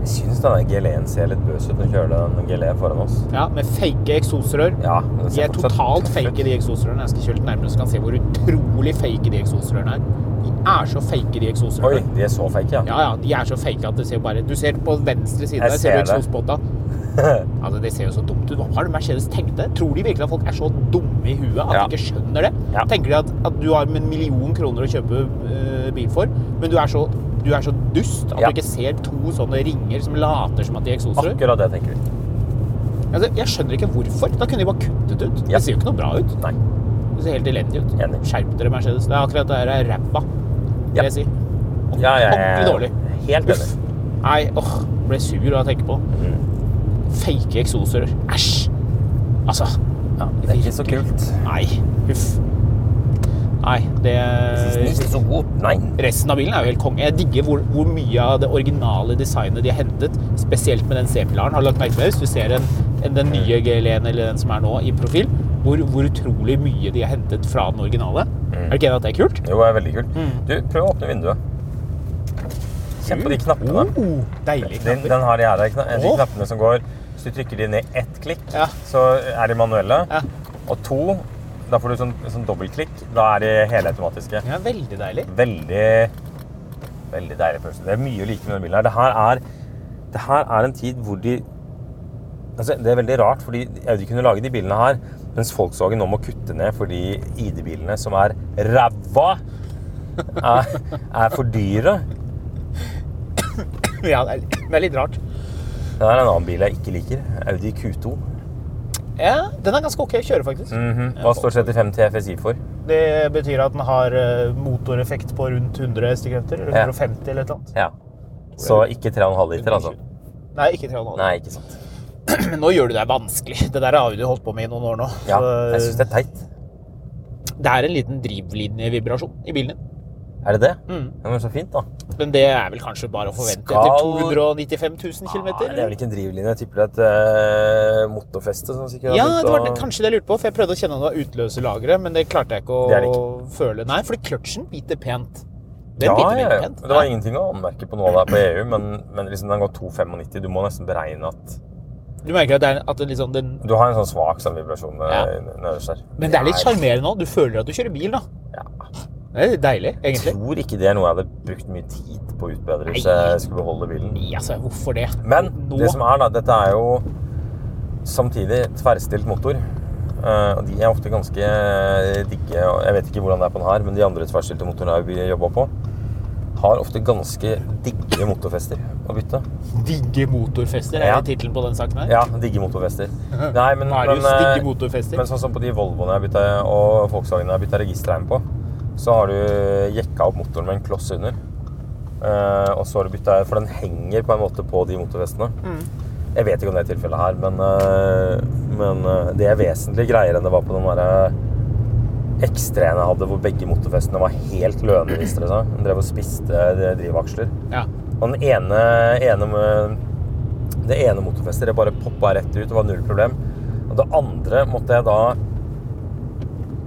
B: Jeg syns denne GLE-en ser litt bøs ut når du kjører den GLE foran oss.
A: Ja, med fake eksosrør.
B: Ja, den
A: De
B: ser
A: er
B: fortsatt
A: totalt
B: tøff ut.
A: fake, de eksosrørene. Jeg skal kjøre litt nærmere, så kan jeg se hvor utrolig fake de eksosrørene er. De er så fake, de
B: Oi,
A: eksosrørene.
B: de er så fake, ja.
A: Ja, ja, de er så fake at det ser bare Du ser på venstre side
B: Jeg
A: der, ser du
B: ser det.
A: eksosbåta. Altså, det ser jo så dumt ut. Hva har Mercedes tenkt det? Tror de virkelig at folk er så dumme i huet at
B: Ja.
A: de ikke skjønner det?
B: Ja.
A: Tenker de at, at du har en million kroner å kjøpe eh, bil for, men du er så, du er så dust at
B: Ja.
A: du ikke ser to sånne ringer som later som at de er eksoser?
B: Akkurat det tenker vi.
A: Altså, jeg skjønner ikke hvorfor. Da kunne de bare kuttet ut.
B: Ah. Ja.
A: Det ser jo ikke noe bra ut.
B: Nei.
A: Det ser helt elendig ut.
B: Enig.
A: Skjerp dere, Mercedes. Det er akkurat det her er ræva, vil
B: Ja.
A: jeg si.
B: Ja, jeg er
A: Ordentlig dårlig.
B: Helt enig.
A: Uff. Nei, åh, ble sur av å tenke på.
B: Mm.
A: Fake eksoser. Æsj! Altså.
B: Ja, det er ikke så kult.
A: Nei, huff. Nei, det
B: Ikke så god. Nei.
A: Resten av bilen er jo helt konge. Jeg digger hvor, hvor mye av det originale designet de har hentet, spesielt med den C-pilaren. Har du lagt merke til det? Hvis du ser en, en, den nye
B: Mm.
A: GL1 eller den som er nå i profil, hvor, hvor utrolig mye de har hentet fra den originale.
B: Mm.
A: Er du ikke enig i at det er kult?
B: Jo, det er veldig kult.
A: Mm.
B: Du, prøv å åpne vinduet. Kjenn på de knappene.
A: Oh, deilig.
B: Den, den har de her, kna- de
A: Åh.
B: knappene som går. Hvis du trykker de ned ett klikk,
A: Ja.
B: så er de manuelle.
A: Ja.
B: Og to, da får du sånn, sånn dobbeltklikk. Da er de helautomatiske.
A: Ja, veldig deilig.
B: Veldig veldig deilig følelse. Det er mye å like med denne bilen. her. Det her er, det her er en tid hvor de altså Det er veldig rart, fordi Audi kunne lage de bilene her, mens Volkswagen nå må kutte ned fordi ID-bilene, som er ræva, er, er for dyre.
A: Ja, det er, det er litt rart.
B: Det er en annen bil jeg ikke liker. Audi Q2.
A: Ja, den er ganske ok å kjøre, faktisk.
B: Hva står 35 til FSI for?
A: Det betyr at den har eh, motoreffekt på rundt 100 hestekrefter, eller
B: Ja.
A: 150 eller et eller annet.
B: Ja. Så ikke 3,5 liter, altså?
A: Nei, ikke 3,5.
B: Nei, ikke sant.
A: Men nå gjør du deg vanskelig. Det der har Audi holdt på med i noen år nå.
B: Ja,
A: Så,
B: jeg syns det er teit.
A: det er en liten drivlinjevibrasjon i bilen din.
B: Er det det?
A: Mm.
B: Ja, men så fint, da.
A: Men det er vel kanskje bare å forvente
B: Skal-
A: etter 295 000 km?
B: Ah, det er vel ikke en drivlinje. Jeg tipper det er et eh, motorfeste som sikkert har
A: Ja,
B: begynt
A: det var
B: å-
A: det, kanskje det jeg lurte på, for jeg prøvde å kjenne om det var utløserlageret, men det klarte jeg ikke å
B: Det er det ikke.
A: føle. Nei, fordi kløtsjen biter pent. Det er en bitte liten pent.
B: Det var ingenting å anmerke på noe av det her på EU, men, men liksom, den går 2,95. Du må nesten beregne at
A: Du merker at det er, at det liksom, den,
B: Du har en sånn svak sånn vibrasjon
A: Ja.
B: eh, nederst der.
A: Men det er litt
B: Nei,
A: sjarmerende òg. Du føler at du kjører bil, da. Det er litt deilig,
B: Jeg
A: egentlig.
B: tror ikke det er noe jeg hadde brukt mye tid på å utbedre hvis
A: Nei.
B: jeg skulle beholde bilen.
A: Nei, altså, hvorfor det?
B: Men
A: Nå-
B: det som er da, dette er jo samtidig tverrstilt motor. Eh, og de er ofte ganske eh, digge. og Jeg vet ikke hvordan det er på den her, men de andre tverrstilte motorene jeg har jobba på, har ofte ganske digge motorfester å bytte.
A: Digge motorfester er
B: Ja.
A: det tittelen på den saken her.
B: Ja, digge motorfester. Nei, men,
A: Marius,
B: eh,
A: digge motorfester.
B: men sånn som på de Volvoene jeg bytta, og Volkswagene jeg bytta registerregn på, så har du jekka opp motoren med en kloss under. Eh, og så har du bytta For den henger på en måte på de motorfestene.
A: Mm.
B: Jeg vet ikke om det er tilfellet her, men, eh, men eh, det er vesentlig greiere enn det var på den derre X3-en jeg hadde, hvor begge motorfestene var helt løne, viste det seg. Den drev og spiste eh, drivaksler.
A: Ja.
B: Og den ene, ene med, det ene motorfestet det bare poppa rett ut, det var null problem. Og det andre måtte jeg da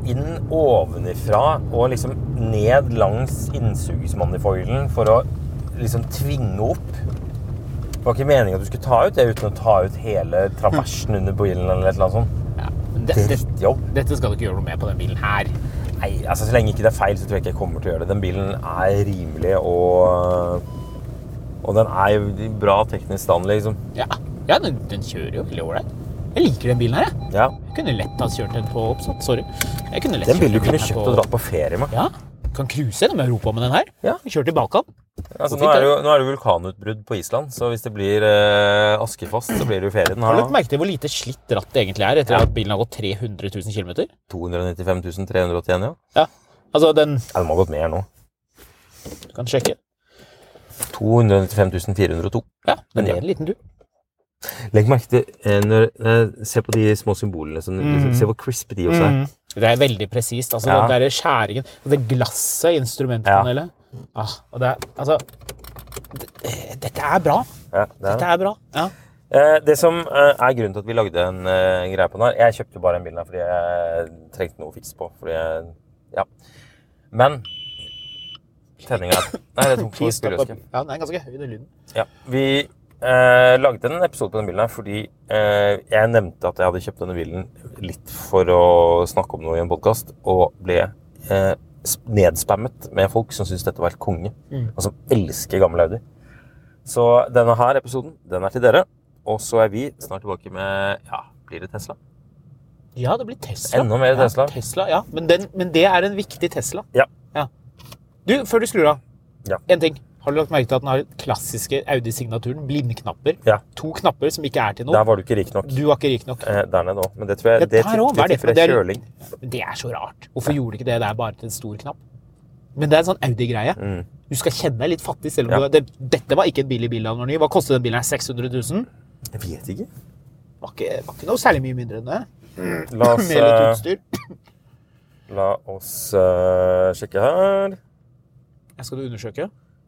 B: inn ovenifra og liksom ned langs innsugesmanifolden for å liksom tvinge opp. Det var ikke meningen at du skulle ta ut det uten å ta ut hele traversen under bilen eller et eller annet sånt.
A: Ja. Men Det, det,
B: Drittjobb.
A: dette skal du ikke gjøre noe med på den bilen her.
B: Nei, altså så lenge ikke det er feil, så tror jeg ikke jeg kommer til å gjøre det. Den bilen er rimelig og Og den er i bra teknisk stand, liksom.
A: Ja, ja den, den kjører jo veldig ålreit. Jeg liker den bilen her, jeg.
B: Ja.
A: Jeg kunne lett ha kjørt den på oppsatt. Sorry. Jeg kunne lett
B: Den bilen du
A: kjørt
B: kunne
A: her
B: kjøpt
A: på-
B: og dratt på ferie med.
A: Ja. Kan cruise gjennom Europa med den her.
B: Ja.
A: Kjørt til Balkan.
B: Altså,
A: Og
B: nå,
A: fint,
B: er det jo, nå er det jo vulkanutbrudd på Island, så hvis det blir eh, askefast, så blir det jo ferien.
A: Har du lagt
B: Her,
A: merke til hvor lite slitt ratt det egentlig er etter
B: Ja.
A: at bilen har gått 300 000 km?
B: 295 381, ja.
A: Ja. Altså, den
B: Ja, Den må ha gått mer nå.
A: Du kan sjekke.
B: 295 402.
A: Ja, men
B: Men
A: det
B: ja.
A: er en liten tur.
B: Legg merke til eh, når, eh, Se på de små symbolene. Som,
A: Mm.
B: Se hvor crispe de også er.
A: Det er veldig presist. Altså,
B: Ja.
A: Den der skjæringen og Det glasset i instrumentpanelet ah, og det, er- Altså det, Dette er bra.
B: Ja, det er.
A: Dette er bra. Ja.
B: Eh, det som eh, er grunnen til at vi lagde en eh, greie på den her Jeg kjøpte bare den bilen her fordi jeg trengte noe å fikse på. Fordi jeg, ja. Men Tenninga er Nei, det er tomt for
A: Please, stoppa-
B: spylevæske.
A: ja, den er ganske høy, den lyden.
B: Ja, vi eh, lagde en episode på denne bilen her fordi eh, jeg nevnte at jeg hadde kjøpt denne bilen litt for å snakke om noe i en podkast, og ble eh, sp- nedspammet med folk som syntes dette var helt konge,
A: Mm.
B: og som elsker gammel Audi. Så denne her episoden, den er til dere. Og så er vi snart tilbake med ja, blir det Tesla?
A: Ja, det blir Tesla.
B: Enda mer Tesla.
A: Ja, Tesla ja. Men, den, men det er en viktig Tesla.
B: Ja.
A: Du, før du skrur av,
B: Ja.
A: en ting. Har du lagt merke til at den har den klassiske Audi-signaturen? Blindknapper.
B: Ja.
A: To knapper som ikke er til noe.
B: Der var du ikke rik nok.
A: Du var ikke rik nok.
B: Eh, der nede òg. Men det tror jeg
A: Ja,
B: det, det,
A: der også, hva er det for
B: tipper jeg
A: noe?
B: kjøling.
A: Men Det er så rart. Hvorfor gjorde de ikke det der bare til en stor knapp? Men det er en sånn Audi-greie. Du skal kjenne deg litt fattig. selv om
B: Ja.
A: du, det, Dette var ikke en billig bil. han var ny. Hva kostet den bilen? her? 600 000?
B: Jeg vet ikke.
A: Var ikke, var ikke noe særlig mye mindre enn det.
B: La oss,
A: Med litt
B: eh,
A: utstyr.
B: la oss eh, sjekke her.
A: Jeg skal du undersøke.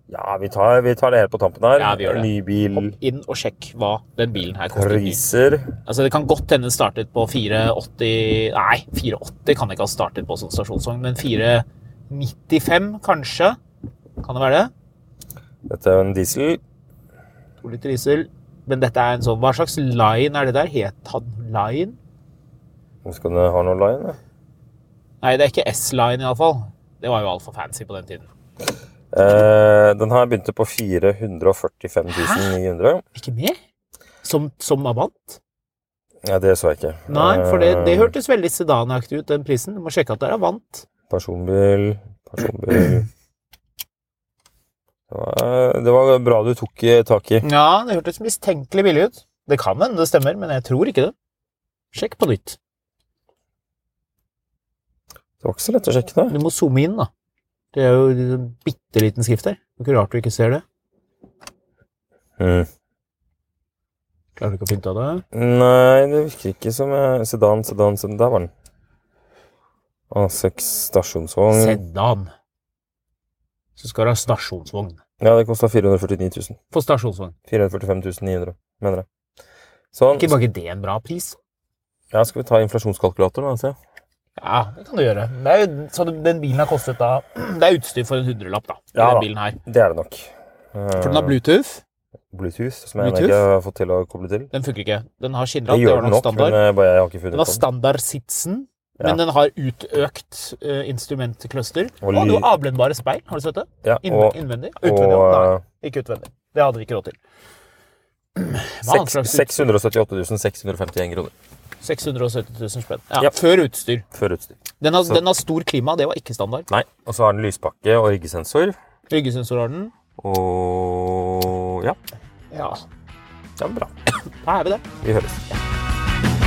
B: Ja, vi tar, vi tar det helt på tampen her.
A: Ja, vi gjør det.
B: Ny bil,
A: Inn og sjekk hva den bilen her koster.
B: priser
A: Altså, det kan godt hende den startet på 480 Nei, 480 kan ikke ha startet på sånn stasjonsvogn, men 495 kanskje? Kan det være det?
B: Dette er jo en diesel.
A: To liter diesel. Men dette er en sånn Hva slags line er det der? Het han line?
B: Nå skal den ha noe line. da.
A: Nei, det er ikke S-line iallfall. Det var jo altfor fancy på den tiden.
B: Eh, den her begynte på 445 900.
A: Ikke mer? Som, som Avant?
B: Ja, det så jeg ikke.
A: Nei, for det, det
B: Eh,
A: hørtes veldig sedanaktig ut, den prisen. Du må sjekke at det er Avant.
B: Personbil, personbil det var, det var bra du tok eh, tak i.
A: Ja, det hørtes mistenkelig billig ut. Det kan hende det stemmer, men jeg tror ikke det. Sjekk på nytt.
B: Det var ikke så lett å sjekke det.
A: Du må zoome inn, da. Det er jo en bitte liten skrift der. Det er ikke rart du ikke ser det.
B: Mm.
A: Klarer du ikke å finne ut av det?
B: Nei, det virker ikke som eh, Sedan, sedan, sedan. Der var den. A6
A: Mm.
B: stasjonsvogn.
A: Sedan. Så skal du ha stasjonsvogn.
B: Ja, det kosta 449 000.
A: På stasjonsvogn.
B: 445 900, mener jeg. Sånn.
A: Ikke bare det en bra pris?
B: Ja, skal vi ta inflasjonskalkulator, da? Se.
A: Ja, det kan du gjøre. Det er jo, så den bilen har kostet da Det er utstyr for en hundrelapp, da. i
B: Ja da.
A: den bilen her.
B: Det er det nok.
A: For den har Bluetooth.
B: Eh, Bluetooth, som jeg ennå
A: Bluetooth?
B: ikke har fått til å koble til.
A: Den funker ikke. Den har
B: Det
A: skinnratt. Det
B: gjør
A: var
B: den
A: nok
B: nok, men
A: standard.
B: eh, bare jeg har ikke
A: Den
B: funnet
A: har
B: på den.
A: standardsitsen, men
B: Ja.
A: den har utøkt uh, instrumentcluster.
B: Og
A: Og, du
B: ly-
A: har avblendbare speil. Har du sett det?
B: Ja,
A: Innven-
B: og-
A: innvendig?
B: og,
A: Utvendig?
B: eh,
A: Nei, ikke utvendig. Det hadde vi ikke råd til. Hva annet
B: Seks-
A: slags utstyr?
B: 678 651 kroner
A: 670 000 spenn. Ja,
B: Ja.
A: Før utstyr.
B: før utstyr.
A: Den har,
B: Så-
A: den har stor klima, det var ikke standard.
B: Nei, og så har den lyspakke og ryggesensor.
A: Ryggesensor har den.
B: Og ja,
A: Ja,
B: det er bra.
A: da er vi det.
B: Vi høres.